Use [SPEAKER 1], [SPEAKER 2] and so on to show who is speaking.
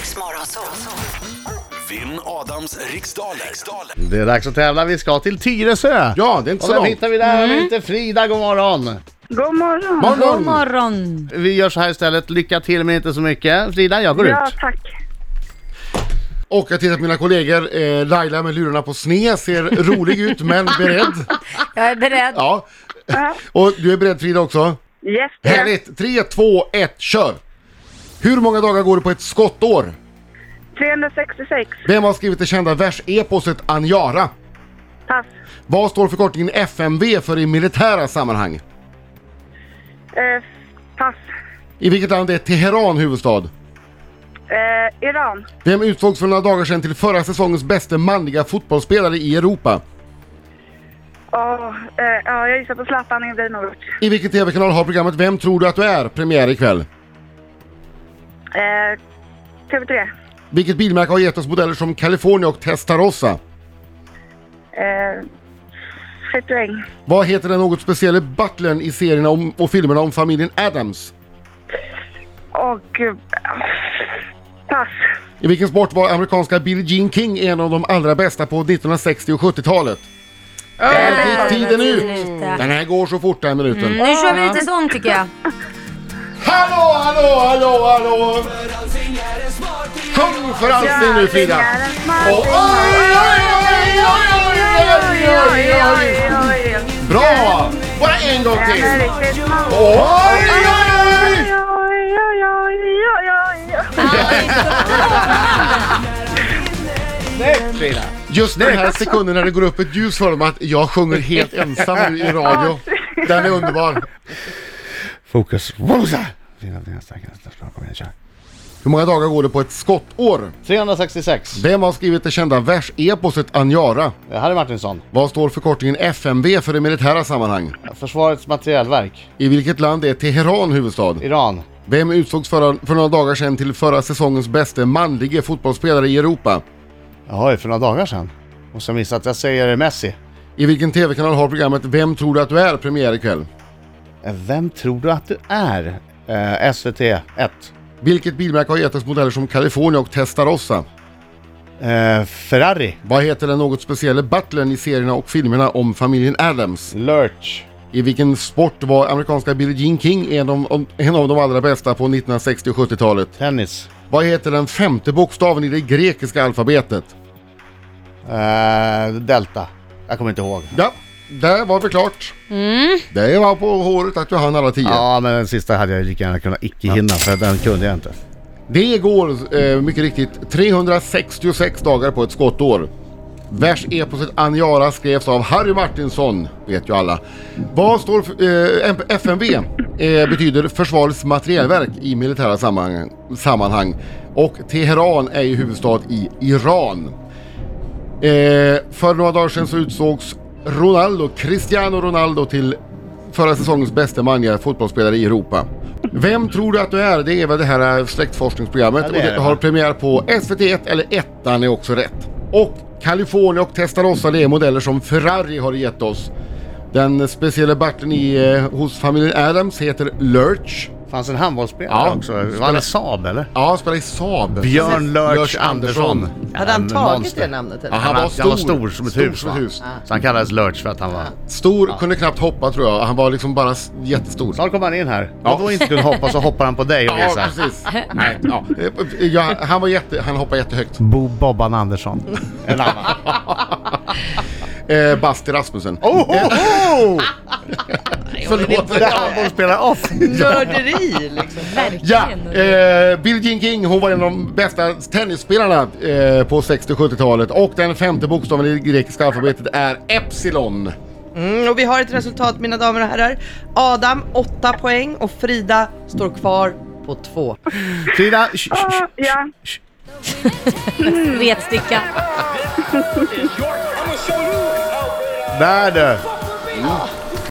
[SPEAKER 1] Riksmorgon, så.
[SPEAKER 2] Vinn Adams riksdaler. riksdaler.
[SPEAKER 3] Det är dags att tävla. Vi ska till Tyresö.
[SPEAKER 4] Ja, det är inte
[SPEAKER 3] Och
[SPEAKER 4] så
[SPEAKER 3] vem
[SPEAKER 4] långt.
[SPEAKER 3] hittar vi där om inte Frida? God morgon.
[SPEAKER 5] God morgon.
[SPEAKER 4] Morgon,
[SPEAKER 6] God
[SPEAKER 4] morgon.
[SPEAKER 6] morgon!
[SPEAKER 3] Vi gör så här istället. Lycka till men inte så mycket. Frida, jag går
[SPEAKER 5] Ja,
[SPEAKER 3] ut.
[SPEAKER 5] tack.
[SPEAKER 4] Och jag tittar på mina kollegor. Eh, Laila med lurarna på sne ser rolig ut men beredd.
[SPEAKER 6] Jag är beredd.
[SPEAKER 4] Ja. Och du är beredd Frida också?
[SPEAKER 5] Yes, det är
[SPEAKER 4] Härligt! 3, 2, 1, kör! Hur många dagar går det på ett skottår?
[SPEAKER 5] 366.
[SPEAKER 4] Vem har skrivit det kända verseposet Anjara?
[SPEAKER 5] Pass.
[SPEAKER 4] Vad står förkortningen FMV för i militära sammanhang?
[SPEAKER 5] Eh, pass.
[SPEAKER 4] I vilket land är Teheran huvudstad?
[SPEAKER 5] Eh, Iran.
[SPEAKER 4] Vem utsågs för några dagar sedan till förra säsongens bästa manliga fotbollsspelare i Europa?
[SPEAKER 5] Åh, eh, ja, jag gissar på Zlatan Ibrahimovic.
[SPEAKER 4] I vilken TV-kanal har programmet Vem tror du att du är? premiär ikväll?
[SPEAKER 5] Eh, TV3.
[SPEAKER 4] Vilket bilmärke har gett oss modeller som California och Testarossa?
[SPEAKER 5] Eh, Citroën.
[SPEAKER 4] Vad heter den något speciella butlern i serierna om, och filmerna om familjen Adams?
[SPEAKER 5] Och... eh, Pass.
[SPEAKER 4] I vilken sport var amerikanska Billie Jean King en av de allra bästa på 1960 och 70-talet? Där gick tiden ut! Den här går så fort den här minuten.
[SPEAKER 6] Nu kör vi lite sång tycker jag.
[SPEAKER 4] Hallå, hallå, hallå, hallå! Sjung för allting nu Frida!
[SPEAKER 5] det är en smart
[SPEAKER 4] Och oj, oj, oj, oj, oj, oj, oj, oj.
[SPEAKER 5] oj, oj.
[SPEAKER 4] Bra! Bara en gång
[SPEAKER 5] Den
[SPEAKER 4] till!
[SPEAKER 5] är riktigt smart.
[SPEAKER 4] Oj, oj, oj!
[SPEAKER 5] Oj, oj, oj, oj, oj, oj.
[SPEAKER 3] Snyggt Frida.
[SPEAKER 4] Just den här sekunden när det går upp ett ljus för dem att jag sjunger helt ensam nu i radio. Den är underbar.
[SPEAKER 3] Fokus. Rosa. Frida, dina starka hästar. Bra, kom igen, kör.
[SPEAKER 4] Hur många dagar går det på ett skottår?
[SPEAKER 3] 366.
[SPEAKER 4] Vem har skrivit det kända verseposet Anjara?
[SPEAKER 3] Det här är Martinsson.
[SPEAKER 4] Vad står förkortningen FMV för i militära sammanhang?
[SPEAKER 3] Försvarets materielverk.
[SPEAKER 4] I vilket land är Teheran huvudstad?
[SPEAKER 3] Iran.
[SPEAKER 4] Vem utsågs förra, för några dagar sedan till förra säsongens bästa manlige fotbollsspelare i Europa?
[SPEAKER 3] Jaha, för några dagar sedan. Och sen missat att jag säger Messi.
[SPEAKER 4] I vilken TV-kanal har programmet Vem tror du att du är premiär ikväll?
[SPEAKER 3] Eh, Vem tror du att du är? Eh, SVT 1.
[SPEAKER 4] Vilket bilmärke har gett oss modeller som California och Testarossa?
[SPEAKER 3] Eh, Ferrari.
[SPEAKER 4] Vad heter den något speciella butlern i serierna och filmerna om familjen Adams?
[SPEAKER 3] Lurch.
[SPEAKER 4] I vilken sport var amerikanska Billie Jean King en av, en av de allra bästa på 1960 och 70-talet?
[SPEAKER 3] Tennis.
[SPEAKER 4] Vad heter den femte bokstaven i det grekiska alfabetet?
[SPEAKER 3] Eh, Delta. Jag kommer inte ihåg.
[SPEAKER 4] Ja, där var det klart. Det var på håret att du hann alla tio.
[SPEAKER 3] Ja, men den sista hade jag lika gärna kunnat icke hinna för den kunde jag inte.
[SPEAKER 4] Det går eh, mycket riktigt 366 dagar på ett skottår. E Verseposet Anjara skrevs av Harry Martinsson, vet ju alla. Vad står för- eh, M- FMV? Eh, betyder Försvarets materielverk i militära sammanhang, sammanhang. Och Teheran är ju huvudstad i Iran. Eh, för några dagar sedan så utsågs Ronaldo, Cristiano Ronaldo till förra säsongens bästa manliga fotbollsspelare i Europa. Vem tror du att du är? Det är väl det här eh, släktforskningsprogrammet
[SPEAKER 3] Ja, det
[SPEAKER 4] och
[SPEAKER 3] är
[SPEAKER 4] det
[SPEAKER 3] det.
[SPEAKER 4] har premiär på SVT1 eller Ettan är också rätt. Och California och Testarossa det är modeller som Ferrari har gett oss. Den speciella barten i, eh, hos familjen Adams heter Lurch.
[SPEAKER 3] Fanns en handbollsspelare
[SPEAKER 4] Ja.
[SPEAKER 3] också. Var det Saab eller?
[SPEAKER 4] Ja, han spelar i Saab.
[SPEAKER 3] Björn Lurch,
[SPEAKER 4] Lurch
[SPEAKER 3] Andersson.
[SPEAKER 4] Andersson.
[SPEAKER 7] Hade han
[SPEAKER 3] En
[SPEAKER 7] tagit
[SPEAKER 3] monster.
[SPEAKER 7] det namnet?
[SPEAKER 4] Ja,
[SPEAKER 7] Eller?
[SPEAKER 4] han, var stor,
[SPEAKER 3] han var stor som ett hus,
[SPEAKER 4] som
[SPEAKER 3] va?
[SPEAKER 4] ett hus.
[SPEAKER 3] Så han kallades Lurch för att han var...
[SPEAKER 4] Stor, kunde knappt hoppa tror jag. Han var liksom bara s- jättestor.
[SPEAKER 3] Snart kommer han in här. Och då inte kunde hoppa så hoppar han på dig och
[SPEAKER 4] Ja,
[SPEAKER 3] visar.
[SPEAKER 4] precis. Nej, ja. Eh, Ja, han, var jätte, han hoppade jättehögt.
[SPEAKER 3] Bo Bobban Andersson. En annan.
[SPEAKER 4] Eh, Basti Rasmussen.
[SPEAKER 3] Ohoho!
[SPEAKER 4] Förlåt.
[SPEAKER 3] Det är handbollsspelare off.
[SPEAKER 7] Nörderi liksom.
[SPEAKER 4] Ja,
[SPEAKER 6] Verkligen.
[SPEAKER 4] eh, Billie Jean King hon var en av de bästa tennisspelarna eh, på 60-70-talet och den femte bokstaven i det grekiska alfabetet är Epsilon.
[SPEAKER 7] Mm, och vi har ett resultat mina damer och herrar. Adam 8 poäng och Frida står kvar på 2.
[SPEAKER 3] Frida, sh- sh- sh-
[SPEAKER 5] Ja.
[SPEAKER 6] Retsticka.
[SPEAKER 3] där du!